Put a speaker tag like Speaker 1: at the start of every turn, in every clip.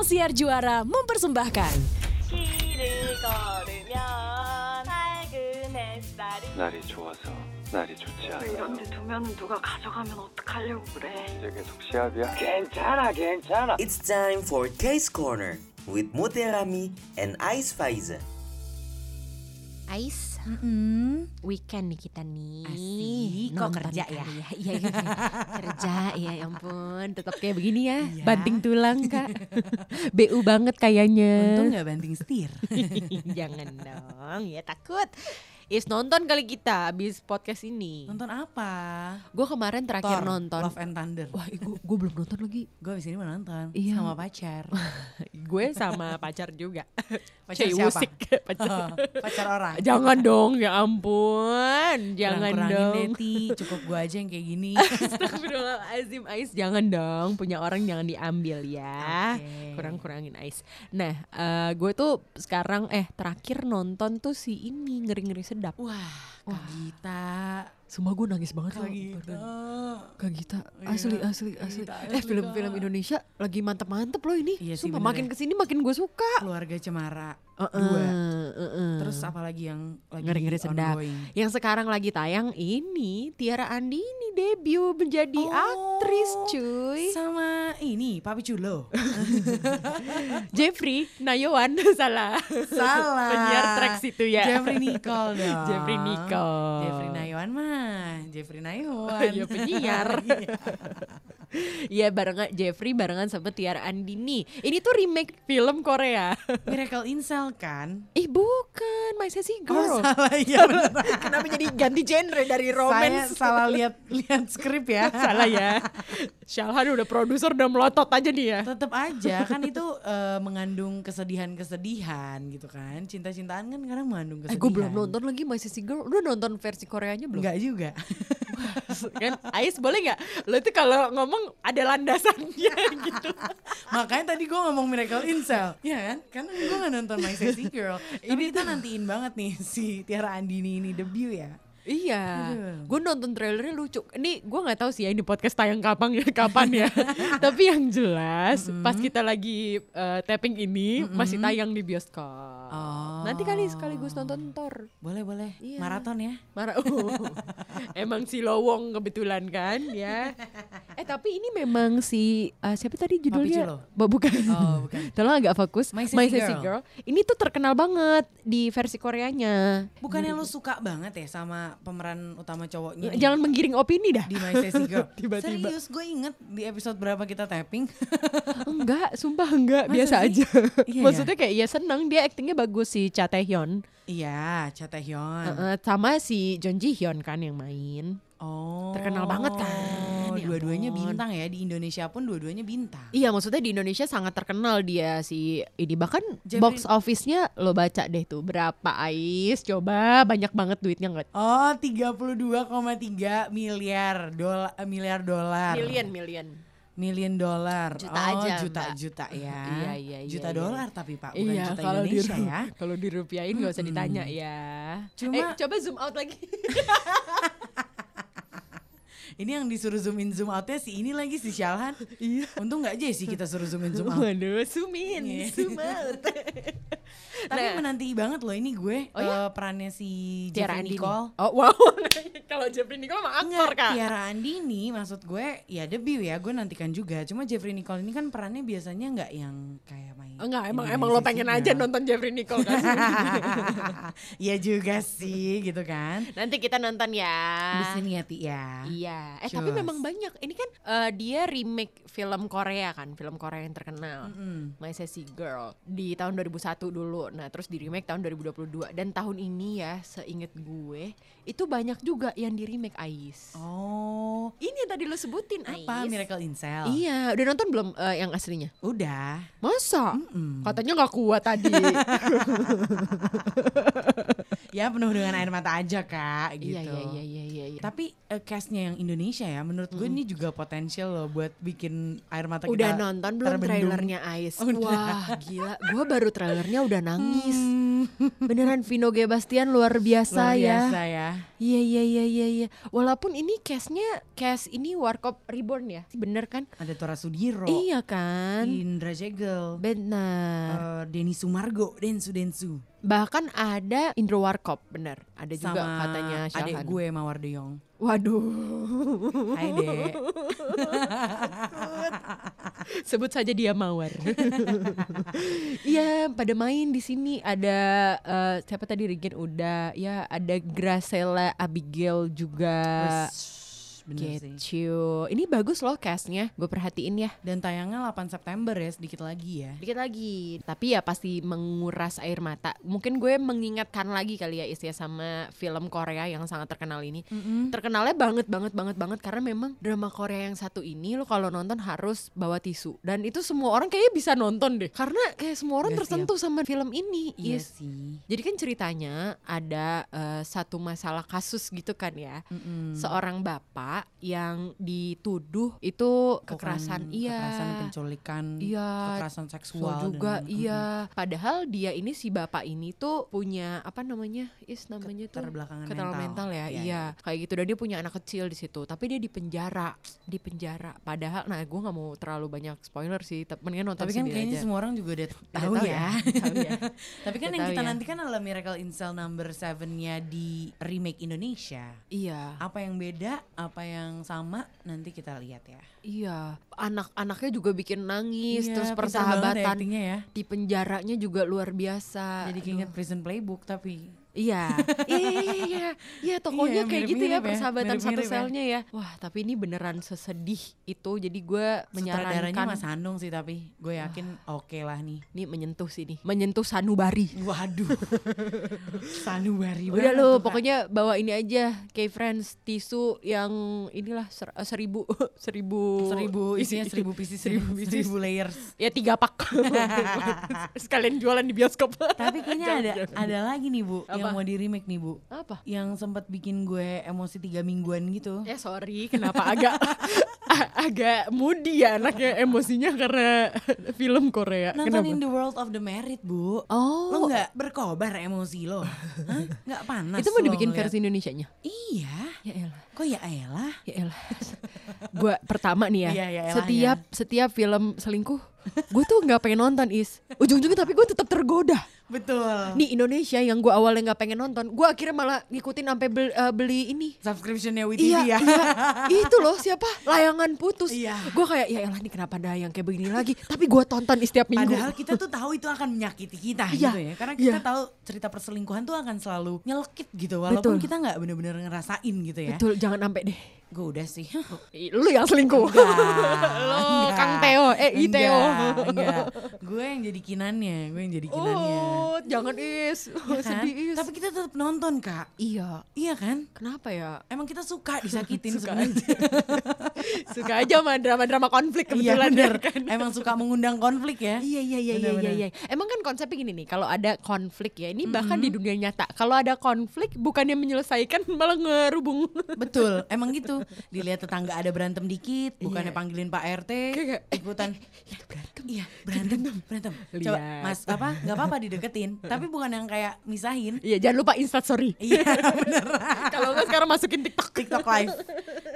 Speaker 1: Sang Siar Juara mempersembahkan.
Speaker 2: 길을 걸으면 밝은 햇살이
Speaker 3: 날이 좋아서 날이 좋지 않아
Speaker 4: 이런데 두면은 누가 가져가면 어떡하려고 그래.
Speaker 3: 이제 계속 시합이야?
Speaker 5: 괜찮아 괜찮아
Speaker 6: It's time for Case Corner with Muterami and Ice Faiza.
Speaker 7: Ais, weekend nih kita nih.
Speaker 8: Asik, kok kerja ya?
Speaker 7: kali Iya, iya, iya. kerja ya ya ampun, tetap kayak begini ya,
Speaker 8: Iya.
Speaker 7: banting tulang kak. BU banget kayaknya.
Speaker 8: Untung gak banting setir.
Speaker 7: Jangan dong, ya takut. Is nonton kali kita abis podcast ini.
Speaker 8: Nonton apa?
Speaker 7: Gue kemarin terakhir
Speaker 8: Thor,
Speaker 7: nonton.
Speaker 8: Love and Thunder.
Speaker 7: Wah, gue belum nonton lagi.
Speaker 8: Gue abis ini mau nonton
Speaker 7: Iya.
Speaker 8: sama pacar.
Speaker 7: Gue sama pacar juga.
Speaker 8: Pacar
Speaker 7: Cewek
Speaker 8: siapa?
Speaker 7: Usik. pacar.
Speaker 8: pacar orang.
Speaker 7: Jangan dong, ya ampun. Jangan
Speaker 8: Kurang-kurangin deh,
Speaker 7: dong.
Speaker 8: Ti. Cukup gue aja yang kayak gini.
Speaker 7: Astagfirullahaladzim Ais jangan dong punya orang jangan diambil ya
Speaker 8: Oke.
Speaker 7: kurang-kurangin Ais nah eh, gue tuh sekarang eh terakhir nonton tuh si ini ngeri-ngeri sedap
Speaker 8: Wah, Kak Gita.
Speaker 7: semua gue nangis banget
Speaker 8: Kak
Speaker 7: loh,
Speaker 8: Gita.
Speaker 7: beneran. Kak Gita
Speaker 8: Iya,
Speaker 7: asli asli asli
Speaker 8: Gita,
Speaker 7: eh
Speaker 8: asli,
Speaker 7: film-film
Speaker 8: Kak.
Speaker 7: Indonesia lagi mantep-mantep loh ini
Speaker 8: Iya sih,
Speaker 7: Sumpah,
Speaker 8: bener
Speaker 7: makin
Speaker 8: ya.
Speaker 7: kesini makin gue suka
Speaker 8: Keluarga Cemara.
Speaker 7: Dua.
Speaker 8: Dua.
Speaker 7: Heeh.
Speaker 8: Terus apalagi yang lagi
Speaker 7: Ngeri-ngeri Eh. sedap.
Speaker 8: ongoing?
Speaker 7: yang sekarang lagi tayang ini Tiara Andini debut menjadi
Speaker 8: Oh,
Speaker 7: aktris cuy
Speaker 8: Sama ini, Papi Culo.
Speaker 7: Jeffrey Nayawan salah.
Speaker 8: Salah.
Speaker 7: Penyiar track situ ya.
Speaker 8: Jeffrey Nicole dong.
Speaker 7: Jeffrey Nicole.
Speaker 8: Jeffrey Naywan mah. Jeffrey Naywan.
Speaker 7: Iya, penyiar.
Speaker 8: Iya.
Speaker 7: Iya barengan Jeffrey barengan sama Tiara Andini. Ini tuh remake film Korea.
Speaker 8: Miracle Insel kan?
Speaker 7: Ih bukan, My Sassy
Speaker 8: Oh
Speaker 7: Girl.
Speaker 8: salah ya bener.
Speaker 7: Kenapa jadi ganti genre dari
Speaker 8: Saya
Speaker 7: romance?
Speaker 8: salah lihat lihat skrip ya.
Speaker 7: salah ya. Shalhan udah produser udah melotot aja nih ya.
Speaker 8: Tetap aja kan itu eh, mengandung kesedihan-kesedihan gitu kan. Cinta-cintaan kan kadang mengandung
Speaker 7: Eh,
Speaker 8: kesedihan.
Speaker 7: gue belum nonton lagi My Sassy Girl. Udah nonton versi Koreanya belum?
Speaker 8: Enggak juga.
Speaker 7: kan? Ais boleh nggak? Lo itu kalau ngomong ada landasannya gitu.
Speaker 8: Makanya tadi gue ngomong Miracle Insel, ya kan? Karena gue gak nonton My Sexy Girl. ini kita nantiin banget nih si Tiara Andini ini debut ya.
Speaker 7: Iya,
Speaker 8: Aduh.
Speaker 7: gue nonton trailernya lucu. Ini gue nggak tahu sih ya ini podcast tayang kapan ya, kapan ya. Tapi yang jelas pas kita lagi eh, tapping ini masih tayang di bioskop.
Speaker 8: Oh.
Speaker 7: Nanti kali sekaligus nonton Thor.
Speaker 8: Boleh boleh.
Speaker 7: Iya.
Speaker 8: Maraton ya.
Speaker 7: Marah. Uh. emang si Lowong kebetulan kan ya. Eh tapi ini memang si eh, siapa tadi
Speaker 8: Culo.
Speaker 7: judulnya? Ba- bukan.
Speaker 8: Oh, bukan.
Speaker 7: Tolong agak fokus.
Speaker 8: My Sassy Girl.
Speaker 7: Ini tuh terkenal banget di versi Koreanya.
Speaker 8: Bukannya lo suka banget ya sama pemeran utama cowoknya?
Speaker 7: Jangan menggiring opini dah.
Speaker 8: Oh, iya. di My Sexy Girl.
Speaker 7: Tiba-tiba.
Speaker 8: Serius gue inget di episode berapa kita tapping.
Speaker 7: Enggak, sumpah enggak,
Speaker 8: Masa
Speaker 7: biasa
Speaker 8: sih?
Speaker 7: aja.
Speaker 8: Iya,
Speaker 7: Maksudnya kayak ya seneng dia aktingnya bagus si Cha Taehyun.
Speaker 8: iya, Cha Taehyun.
Speaker 7: Heeh, sama si Jung Ji Hyun kan yang main.
Speaker 8: Oh.
Speaker 7: Terkenal banget kan, ya
Speaker 8: Dua-duanya
Speaker 7: ampun.
Speaker 8: bintang ya di Indonesia pun dua-duanya bintang.
Speaker 7: Iya, maksudnya di Indonesia sangat terkenal dia si ini bahkan
Speaker 8: Jeffrey-
Speaker 7: box office-nya lo baca deh tuh berapa Ais, coba banyak banget duitnya enggak?
Speaker 8: Oh, 32,3 miliar dolar miliar dolar.
Speaker 7: million.
Speaker 8: Million dolar.
Speaker 7: Juta
Speaker 8: oh,
Speaker 7: aja,
Speaker 8: juta
Speaker 7: Mbak.
Speaker 8: juta ya.
Speaker 7: Iya, iya, iya,
Speaker 8: Juta
Speaker 7: iya.
Speaker 8: dolar tapi Pak, bukan
Speaker 7: Iya,
Speaker 8: juta
Speaker 7: kalau
Speaker 8: Indonesia
Speaker 7: diru-
Speaker 8: ya.
Speaker 7: kalau dirupiahin nggak usah ditanya ya. eh,
Speaker 8: Cuma-
Speaker 7: coba zoom out lagi.
Speaker 8: Ini yang disuruh zoom in zoom outnya si ini lagi si Shalhan. iya. Untung nggak aja sih kita suruh zoom in zoom out.
Speaker 7: Waduh, zoom in,
Speaker 8: Iya.
Speaker 7: zoom out.
Speaker 8: Tapi menanti banget loh ini gue
Speaker 7: Nah. Oh ya?
Speaker 8: eh, perannya si
Speaker 7: Tiara
Speaker 8: Jeffrey
Speaker 7: Andini.
Speaker 8: Nicole.
Speaker 7: Oh wow. Kalau Jeffrey Nicole mah aktor
Speaker 8: Enggak,
Speaker 7: kak.
Speaker 8: Tiara Andini maksud gue ya debut ya gue nantikan juga cuma Jeffrey Nicole ini kan perannya biasanya nggak yang kayak main
Speaker 7: Enggak, Oh, emang
Speaker 8: Indonesia
Speaker 7: emang lo pengen
Speaker 8: Single.
Speaker 7: aja nonton Jeffrey Nicole kan?
Speaker 8: Iya juga sih gitu kan.
Speaker 7: Nanti kita nonton ya.
Speaker 8: Bisa niati ya.
Speaker 7: Iya, eh tapi
Speaker 8: Cus.
Speaker 7: memang banyak. Ini kan eh, dia remake film Korea kan, film Korea yang terkenal.
Speaker 8: Mm.
Speaker 7: My Sassy Girl di tahun 2001 dulu. Nah, terus di remake tahun 2022 dan tahun ini ya, seinget gue, itu banyak juga yang di remake Ais.
Speaker 8: Oh,
Speaker 7: Ini yang tadi lo sebutin
Speaker 8: apa
Speaker 7: Ais.
Speaker 8: Miracle Incel?
Speaker 7: Iya, udah nonton belum eh, yang aslinya?
Speaker 8: Udah.
Speaker 7: Masa?
Speaker 8: Mm-mm.
Speaker 7: Katanya nggak kuat tadi.
Speaker 8: Ya penuh dengan air mata aja kak gitu.
Speaker 7: Iya iya iya iya iya. iya. Hmm.
Speaker 8: Tapi eh, castnya yang Indonesia ya, menurut gue ini juga potensial loh buat bikin air mata kita.
Speaker 7: udah nonton belum
Speaker 8: terbendung. Oh,
Speaker 7: trailernya Ais? Wah gila, gue baru trailernya udah nangis.
Speaker 8: Hmm,
Speaker 7: Beneran Vino G. Bastian luar biasa,
Speaker 8: Luar biasa
Speaker 7: ya.
Speaker 8: ya.
Speaker 7: Iya iya iya iya iya. Walaupun ini case-nya case ini Warkop Reborn ya. Bener kan?
Speaker 8: Ada Tora Sudiro,
Speaker 7: Iya kan?
Speaker 8: Indra Jegel,
Speaker 7: Benar.
Speaker 8: eh, Denny Sumargo, Densu Densu.
Speaker 7: Bahkan ada Indro Warkop, bener. Ada juga
Speaker 8: sama
Speaker 7: katanya
Speaker 8: adik
Speaker 7: Syahan.
Speaker 8: gue Mawar De Jong.
Speaker 7: Waduh.
Speaker 8: Hai Dek.
Speaker 7: Sebut saja dia Mawar. Iya, pada main di sini ada eh, siapa tadi Regen udah, ya ada Gracela Abigail juga.
Speaker 8: Terus, Bener sih.
Speaker 7: Get you. Ini bagus loh castnya, gue perhatiin ya.
Speaker 8: Dan tayangnya 8 September ya, sedikit lagi ya.
Speaker 7: Dikit lagi, tapi ya pasti menguras air mata. Mungkin gue mengingatkan lagi kali ya Is ya sama film Korea yang sangat terkenal ini. Terkenalnya banget banget banget banget karena memang drama Korea yang satu ini lo kalau nonton harus bawa tisu dan itu semua orang kayaknya bisa nonton deh karena kayak semua orang
Speaker 8: Nggak
Speaker 7: tersentuh sama film ini.
Speaker 8: Iya
Speaker 7: Is.
Speaker 8: sih.
Speaker 7: Jadi kan ceritanya ada eh, satu masalah kasus gitu kan ya.
Speaker 8: Mm-mm.
Speaker 7: Seorang bapak yang dituduh itu kekerasan,
Speaker 8: Pokoknya
Speaker 7: iya.
Speaker 8: Kekerasan penculikan,
Speaker 7: Iya.
Speaker 8: kekerasan seksual
Speaker 7: So juga
Speaker 8: dan-
Speaker 7: iya. Padahal dia ini si bapak ini tuh punya apa namanya? Is namanya tuh
Speaker 8: Keterbelakangan
Speaker 7: keterbelakangan
Speaker 8: mental.
Speaker 7: mental. ya.
Speaker 8: Iya,
Speaker 7: Iya. Kayak gitu dan dia punya anak kecil di situ, tapi dia di penjara, di penjara. Padahal nah gue nggak mau terlalu banyak spoiler sih, tapi mendingan nonton
Speaker 8: Tapi kan
Speaker 7: sendiri
Speaker 8: kayaknya
Speaker 7: aja.
Speaker 8: semua orang juga udah
Speaker 7: Tahu ya. Tahu ya.
Speaker 8: Tapi kan
Speaker 7: Udah
Speaker 8: yang
Speaker 7: tahu
Speaker 8: kita
Speaker 7: ya.
Speaker 8: nantikan adalah Miracle in Cell number 7-nya di remake Indonesia.
Speaker 7: Iya,
Speaker 8: Apa yang beda, apa yang sama, nanti kita lihat ya.
Speaker 7: iya. Anak-anaknya juga bikin nangis,
Speaker 8: Iya,
Speaker 7: terus
Speaker 8: pintar banget ya
Speaker 7: persahabatan
Speaker 8: actingnya ya.
Speaker 7: di penjaranya juga luar biasa.
Speaker 8: Jadi
Speaker 7: Aduh.
Speaker 8: keinget prison playbook tapi
Speaker 7: Iya, iya, iya, iya, iya, iya, tokonya
Speaker 8: Iya,
Speaker 7: kayak gitu ya
Speaker 8: mirip-mirip ya,
Speaker 7: persahabatan satu
Speaker 8: mirip-mirip ya.
Speaker 7: selnya ya. Wah, tapi ini beneran sesedih itu. Jadi gue
Speaker 8: sutradaranya Mas
Speaker 7: menyarankan
Speaker 8: Handung sih tapi gue yakin oke lah nih.
Speaker 7: ini menyentuh sini, menyentuh sanubari.
Speaker 8: Iya, Waduh. Sanubari
Speaker 7: Udah
Speaker 8: banget
Speaker 7: lo,
Speaker 8: tuh, Kak.
Speaker 7: pokoknya bawa ini aja, kayak friends tisu yang inilah ser- eh, seribu, seribu,
Speaker 8: seribu isinya seribu pieces ya. seribu pieces seribu layers.
Speaker 7: ya tiga pak. Sekalian jualan di bioskop.
Speaker 8: Tapi kayaknya
Speaker 7: Jangan,
Speaker 8: ada
Speaker 7: jangan.
Speaker 8: ada lagi nih Bu yang
Speaker 7: Apa?
Speaker 8: mau di remake nih Bu.
Speaker 7: apa?
Speaker 8: Yang sempat bikin gue emosi tiga mingguan gitu.
Speaker 7: Oh. Ya sorry, kenapa agak a- agak moody ya anaknya emosinya karena film Korea.
Speaker 8: Nontonin
Speaker 7: kenapa?
Speaker 8: The World of the Married Bu.
Speaker 7: Oh,
Speaker 8: Lo nggak berkobar emosi lo? Hah? Nggak panas?
Speaker 7: itu mau
Speaker 8: lo
Speaker 7: dibikin
Speaker 8: ngeliat?
Speaker 7: versi Indonesianya.
Speaker 8: Iya.
Speaker 7: Ya elah,
Speaker 8: Kok ya elah?
Speaker 7: ya elah. gua pertama nih ya,
Speaker 8: Iya, ya elah,
Speaker 7: setiap setiap film selingkuh, gue tuh nggak pengen nonton is. Ujung-ujungnya tapi gue tetap tergoda.
Speaker 8: Betul.
Speaker 7: Nih Indonesia yang gua awalnya nggak pengen nonton, gua akhirnya malah ngikutin sampai bel- eh, beli ini
Speaker 8: Subscriptionnya WeTV
Speaker 7: Iya,
Speaker 8: ya.
Speaker 7: iya. itu loh siapa layangan putus.
Speaker 8: Iya.
Speaker 7: Gue kayak ya elah nih kenapa ada yang kayak begini lagi. Tapi gue tonton di setiap minggu.
Speaker 8: Padahal kita tuh tahu itu akan menyakiti kita
Speaker 7: Iya,
Speaker 8: gitu ya. Karena kita
Speaker 7: iya.
Speaker 8: tahu cerita perselingkuhan tuh akan selalu nyelekit gitu walaupun
Speaker 7: Betul.
Speaker 8: kita nggak bener-bener ngerasain gitu ya.
Speaker 7: betul jangan sampai deh.
Speaker 8: Gue udah sih.
Speaker 7: Ih, Lu yang selingkuh.
Speaker 8: Iya.
Speaker 7: Lo
Speaker 8: Enggak.
Speaker 7: Kang Teo, eh I Teo.
Speaker 8: Enggak, enggak. Iya. Gue yang jadi kinannya, gue yang jadi kinannya.
Speaker 7: Oh, jangan is.
Speaker 8: Iya kan?
Speaker 7: Sedih is.
Speaker 8: Tapi kita tetap nonton, Kak.
Speaker 7: iya.
Speaker 8: Iya kan?
Speaker 7: Kenapa ya?
Speaker 8: Emang kita suka disakitin Iya,
Speaker 7: Suka
Speaker 8: sebenarnya.
Speaker 7: Suka aja sama drama-drama konflik
Speaker 8: Iya
Speaker 7: kebetulan
Speaker 8: bener.
Speaker 7: ya kan?
Speaker 8: Emang suka mengundang konflik ya.
Speaker 7: Iya iya iya iya iya.
Speaker 8: Benar-benar.
Speaker 7: iya. Emang kan konsepnya gini nih, kalau ada konflik ya, ini bahkan di dunia nyata, kalau ada konflik bukannya menyelesaikan malah ngerubung.
Speaker 8: Betul, emang gitu. Dilihat tetangga ada berantem dikit, bukannya
Speaker 7: Iya.
Speaker 8: panggilin Pak RT,
Speaker 7: Kayak- eh,
Speaker 8: ikutan.
Speaker 7: Ya,
Speaker 8: Itu berantem. Iya, berantem, berantem. Coba,
Speaker 7: Lihat.
Speaker 8: Mas, apa? Gak apa-apa dideketin, tapi bukan yang kayak misahin.
Speaker 7: Iya, jangan lupa Insta sorry.
Speaker 8: Iya, bener.
Speaker 7: Kalau nggak sekarang masukin TikTok.
Speaker 8: TikTok live.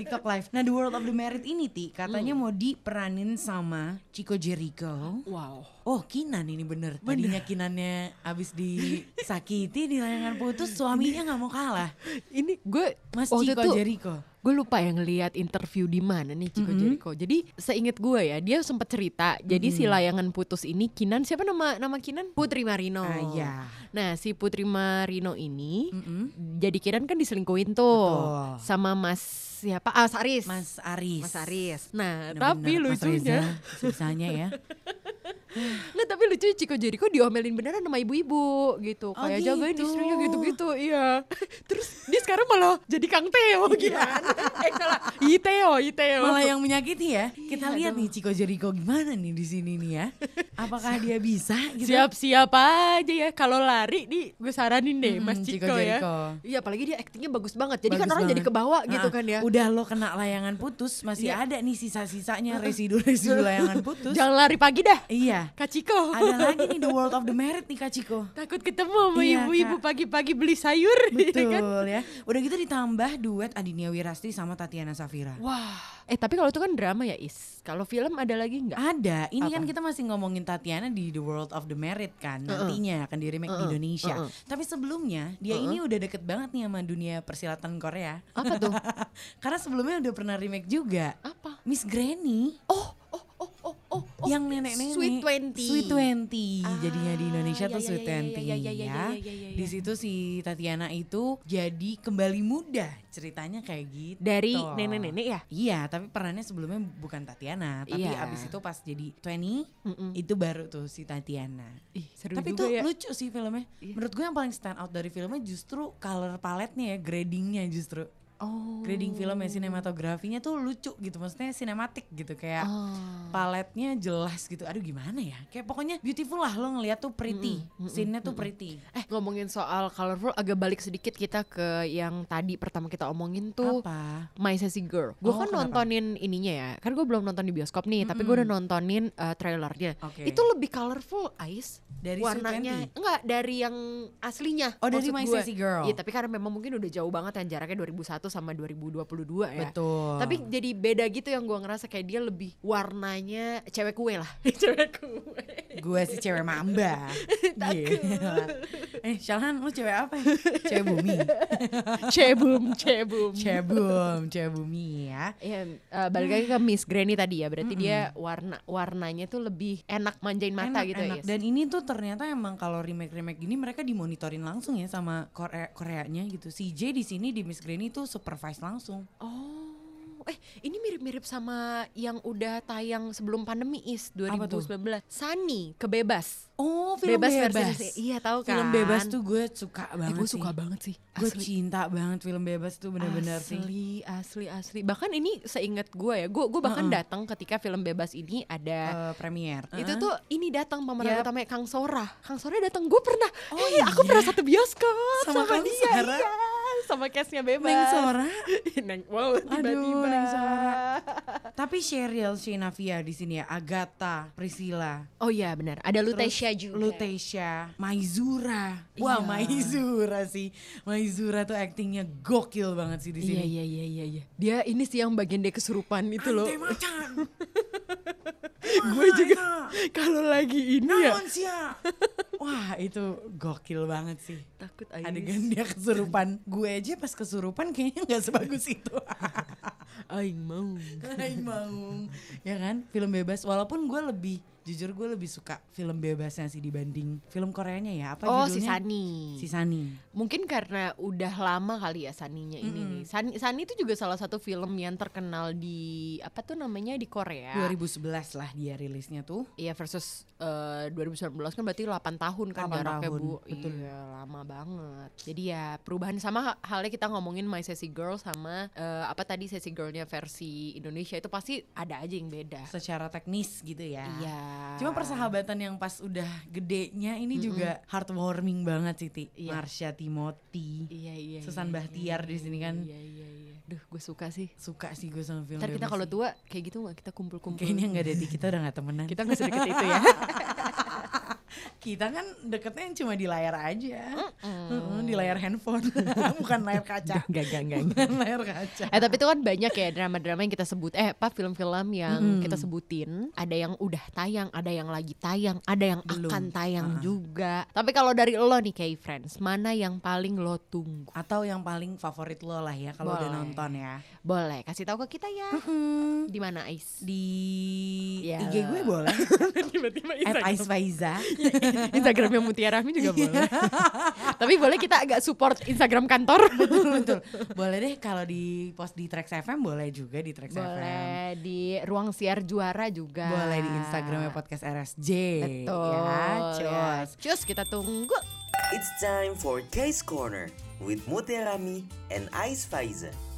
Speaker 8: TikTok live. Nah, The World of the Married ini Ti katanya
Speaker 7: Hmm.
Speaker 8: mau diperanin sama Chico Jericho.
Speaker 7: Wow.
Speaker 8: Oh, Kinan ini bener. Tadinya Kinannya abis disakiti di layangan putus, suaminya nggak mau kalah.
Speaker 7: Ini gue
Speaker 8: Mas
Speaker 7: waktu
Speaker 8: Chico
Speaker 7: itu
Speaker 8: Jericho. Mm-hmm.
Speaker 7: gue lupa yang ngeliat interview di mana nih Chico Jericho. Jadi seinget gue ya, dia sempat cerita. Jadi si
Speaker 8: Mm-hmm.
Speaker 7: layangan putus ini Kinan siapa nama nama Kinan? Putri Marino.
Speaker 8: Ah, iya.
Speaker 7: Nah, si Putri Marino ini jadi Kinan kan diselingkuhin tuh
Speaker 8: Betul.
Speaker 7: sama Mas siapa? Ah, Saris.
Speaker 8: Mas Aris.
Speaker 7: Mas Aris. Nah,
Speaker 8: Bener-bener,
Speaker 7: tapi
Speaker 8: Mas
Speaker 7: lucunya,
Speaker 8: Reza, sisanya ya.
Speaker 7: nggak Nah, tapi lucunya Chico Jericho diomelin beneran sama ibu-ibu gitu.
Speaker 8: Oh,
Speaker 7: Kayak jagain
Speaker 8: gitu.
Speaker 7: istrinya gitu-gitu, iya. Terus dia sekarang malah jadi Kang Teo gimana? eh salah, Iteo, Iteo.
Speaker 8: Iya. Malah yang menyakiti ya. Kita
Speaker 7: Iya,
Speaker 8: lihat nih Chico Jericho gimana nih di sini nih ya. Apakah dia bisa gitu?
Speaker 7: Siap-siap aja ya kalau lari nih gue saranin deh
Speaker 8: Mm,
Speaker 7: Mas
Speaker 8: Chico
Speaker 7: Chico, ya.
Speaker 8: Jericho.
Speaker 7: Iya apalagi dia aktingnya bagus banget. Jadi kan
Speaker 8: Bagus
Speaker 7: orang jadi
Speaker 8: banget.
Speaker 7: kebawa gitu
Speaker 8: Ah,
Speaker 7: kan ya. Iya.
Speaker 8: Udah lo kena layangan putus, masih ada nih sisa-sisanya residu-residu layangan putus.
Speaker 7: Jangan lari pagi dah.
Speaker 8: Iya.
Speaker 7: Kak Chico.
Speaker 8: Ada lagi nih The World of the Merit nih Kak Ciko.
Speaker 7: Takut ketemu sama
Speaker 8: Iya,
Speaker 7: ibu-ibu
Speaker 8: Kak.
Speaker 7: pagi-pagi beli sayur. ya
Speaker 8: Betul
Speaker 7: kan?
Speaker 8: ya. Udah gitu ditambah duet Adinia Wirasti sama Tatiana Safira.
Speaker 7: Wah. Eh tapi kalau itu kan drama ya Is. Kalau film ada lagi nggak?
Speaker 8: Ada, ini
Speaker 7: Apa?
Speaker 8: kan kita masih ngomongin Tatiana di The World of the Merit kan nantinya akan di remake di
Speaker 7: Uh-uh.
Speaker 8: Indonesia.
Speaker 7: Uh-uh.
Speaker 8: Tapi sebelumnya dia ini udah deket banget nih sama dunia persilatan Korea.
Speaker 7: Apa tuh?
Speaker 8: Karena sebelumnya udah pernah remake juga.
Speaker 7: Apa?
Speaker 8: Miss Granny
Speaker 7: Oh, oh, oh, oh, oh. oh.
Speaker 8: yang nenek-nenek
Speaker 7: Sweet Twenty.
Speaker 8: Sweet Twenty jadinya di
Speaker 7: Ah,
Speaker 8: Indonesia
Speaker 7: ya,
Speaker 8: tuh
Speaker 7: ya,
Speaker 8: Sweet
Speaker 7: ya, ya,
Speaker 8: Twenty
Speaker 7: ya, ya,
Speaker 8: ya.
Speaker 7: ya, ya, ya, ya, ya.
Speaker 8: Di situ si Tatiana itu jadi kembali muda ceritanya kayak gitu.
Speaker 7: Dari nenek-nenek ya?
Speaker 8: Iya, tapi perannya sebelumnya bukan Tatiana, tapi
Speaker 7: Iya.
Speaker 8: abis itu pas jadi 20
Speaker 7: Mm-mm.
Speaker 8: itu baru tuh si Tatiana.
Speaker 7: Ih, seru
Speaker 8: tapi
Speaker 7: juga
Speaker 8: tuh
Speaker 7: ya.
Speaker 8: lucu sih filmnya. Menurut gue yang paling stand out dari filmnya justru color palette-nya ya, gradingnya justru.
Speaker 7: Oh.
Speaker 8: Grading filmnya, ya, sinematografinya tuh lucu gitu, maksudnya sinematik gitu kayak
Speaker 7: Ah.
Speaker 8: paletnya jelas gitu. Aduh gimana ya? Kayak pokoknya beautiful lah lo ngeliat tuh pretty. Scene-nya tuh pretty.
Speaker 7: Eh ngomongin soal colorful agak balik sedikit kita ke yang tadi pertama kita omongin tuh
Speaker 8: Apa?
Speaker 7: My Sassy Girl. Gue
Speaker 8: Oh,
Speaker 7: kan
Speaker 8: kenapa?
Speaker 7: nontonin ininya ya. Kan gue belum nonton di bioskop nih, tapi gue udah nontonin uh, trailernya.
Speaker 8: Oke.
Speaker 7: Itu lebih colorful, Ais.
Speaker 8: Dari Sweet
Speaker 7: warnanya
Speaker 8: Twenty?
Speaker 7: enggak dari yang aslinya.
Speaker 8: Oh, dari
Speaker 7: maksud
Speaker 8: My
Speaker 7: gue.
Speaker 8: Sassy Girl.
Speaker 7: Iya, tapi karena memang mungkin udah jauh banget yang jaraknya 2001 sama 2022 ya.
Speaker 8: Betul.
Speaker 7: Tapi jadi beda gitu yang gue ngerasa kayak dia lebih warnanya cewek kue lah. cewek kue.
Speaker 8: Gue sih cewek mamba. Gila. Eh, Shalhan lu cewek apa? Cewek bumi.
Speaker 7: cebum, cebum.
Speaker 8: Cebum, cewek bumi ya.
Speaker 7: Iya, eh, balik lagi ke Miss Granny tadi ya. Berarti dia warna warnanya tuh lebih enak manjain mata
Speaker 8: Enak,
Speaker 7: gitu
Speaker 8: enak.
Speaker 7: ya. Yes.
Speaker 8: Dan ini tuh ternyata emang kalau remake-remake gini mereka dimonitorin langsung ya sama Korea Koreanya gitu. CJ di sini di Miss Granny tuh supervise langsung.
Speaker 7: Oh, eh ini mirip-mirip sama yang udah tayang sebelum pandemi is
Speaker 8: Apa tuh?
Speaker 7: 2019. Sunny kebebas.
Speaker 8: Oh, film
Speaker 7: Bebas
Speaker 8: bebas.
Speaker 7: versi- iya, tahu kan.
Speaker 8: Film bebas tuh gue suka
Speaker 7: Eh,
Speaker 8: banget.
Speaker 7: gue suka
Speaker 8: sih.
Speaker 7: banget sih.
Speaker 8: Gue cinta banget film bebas tuh bener-bener sih.
Speaker 7: asli, asli, asli. Bahkan ini seingat gue ya, gue gue bahkan datang ketika film bebas ini ada.
Speaker 8: Eh, premier.
Speaker 7: Itu tuh ini datang pemeran
Speaker 8: Yap.
Speaker 7: utamanya Kang Sora. Kang Sora datang gue pernah.
Speaker 8: Oh,
Speaker 7: Hei, aku
Speaker 8: iya?
Speaker 7: pernah satu bioskop sama,
Speaker 8: Sama Kang
Speaker 7: dia.
Speaker 8: Sora?
Speaker 7: Iya, sama case-nya bebas.
Speaker 8: Neng Sora.
Speaker 7: Neng, wow, tiba-tiba.
Speaker 8: Neng Sora. Tapi Sheryl Shenavia di sini ya, Agatha, Priscilla,
Speaker 7: Oh iya benar, ada
Speaker 8: terus
Speaker 7: Lutesia juga.
Speaker 8: Lutesia, Maizura. Wah,
Speaker 7: Iya.
Speaker 8: Maizura sih. Maizura tuh aktingnya gokil banget sih di sini.
Speaker 7: Iya iya iya iya iya. Dia ini sih yang bagian dia kesurupan itu loh.
Speaker 8: Ante macan.
Speaker 7: Gue juga kalau lagi ini ya
Speaker 8: Naon sia? Wah, itu gokil banget sih.
Speaker 7: takut
Speaker 8: Adegan dia kesurupan. Gue aja pas kesurupan kayaknya nggak sebagus itu.
Speaker 7: Aing mau.
Speaker 8: Hai Maung Ya kan film bebas Walaupun gue lebih Jujur gue lebih suka film bebasnya sih dibanding film Koreanya ya Apa
Speaker 7: Oh,
Speaker 8: judulnya?
Speaker 7: si Sani.
Speaker 8: Si Sani
Speaker 7: Mungkin karena udah lama kali ya Saninya ini nih. Sani, Sani itu juga salah satu film yang terkenal di apa tuh namanya di Korea.
Speaker 8: 2011 lah dia rilisnya tuh
Speaker 7: Iya versus eh, 2019 kan berarti 8 tahun kan
Speaker 8: 8
Speaker 7: jaraknya
Speaker 8: tahun,
Speaker 7: Bu.
Speaker 8: betul.
Speaker 7: Iya, lama banget. Jadi ya perubahan sama ha- halnya kita ngomongin My Sassy Girl sama eh, apa tadi Sassy Girl-nya versi Indonesia itu pasti ada aja yang beda.
Speaker 8: Secara teknis gitu
Speaker 7: Ya.
Speaker 8: ya
Speaker 7: Iya.
Speaker 8: Cuma persahabatan yang pas udah gedenya ini juga heartwarming banget sih Ti
Speaker 7: Iya.
Speaker 8: Marsha Timothy
Speaker 7: Iya iya.
Speaker 8: Susan
Speaker 7: iya,
Speaker 8: Bachtiar
Speaker 7: iya,
Speaker 8: di sini kan.
Speaker 7: Iya iya iya. Duh, gue suka sih.
Speaker 8: Suka sih gue sama film
Speaker 7: Ntar kita
Speaker 8: bebas
Speaker 7: kalau
Speaker 8: sih.
Speaker 7: tua kayak gitu nggak kita kumpul-kumpul.
Speaker 8: Kayaknya nggak ada Ti kita udah gak temenan
Speaker 7: kita nggak sedekat itu ya.
Speaker 8: kita kan deketnya yang cuma di layar aja Mm-mm, di layar handphone bukan layar kaca
Speaker 7: Enggak enggak enggak.
Speaker 8: bukan layar kaca
Speaker 7: Eh tapi itu kan banyak ya drama-drama yang kita sebut eh apa film-film yang
Speaker 8: Hmm.
Speaker 7: kita sebutin ada yang udah tayang, ada yang lagi tayang, ada yang
Speaker 8: Belum. Ah.
Speaker 7: akan tayang juga. Tapi kalau dari lo nih kayak friends, mana yang paling lo tunggu?
Speaker 8: atau yang paling favorit lo lah ya kalau udah
Speaker 7: Boleh.
Speaker 8: nonton ya
Speaker 7: Boleh kasih tahu ke kita ya. Di mana Ais?
Speaker 8: di
Speaker 7: Ya.
Speaker 8: IG gue boleh
Speaker 7: Tiba-tiba
Speaker 8: at Ais Faiza
Speaker 7: Instagramnya Mutia Rahmi juga
Speaker 8: Iya.
Speaker 7: boleh. tapi boleh kita agak support Instagram kantor.
Speaker 8: betul betul boleh deh kalau di post di Trax FM boleh juga di Trax FM
Speaker 7: boleh di ruang siar juara juga.
Speaker 8: boleh di Instagramnya podcast RSJ
Speaker 7: Betul.
Speaker 8: ya
Speaker 7: ya.
Speaker 8: cus
Speaker 7: Cus kita tunggu.
Speaker 6: It's time for Case Corner with Muterami and Ice Faiza.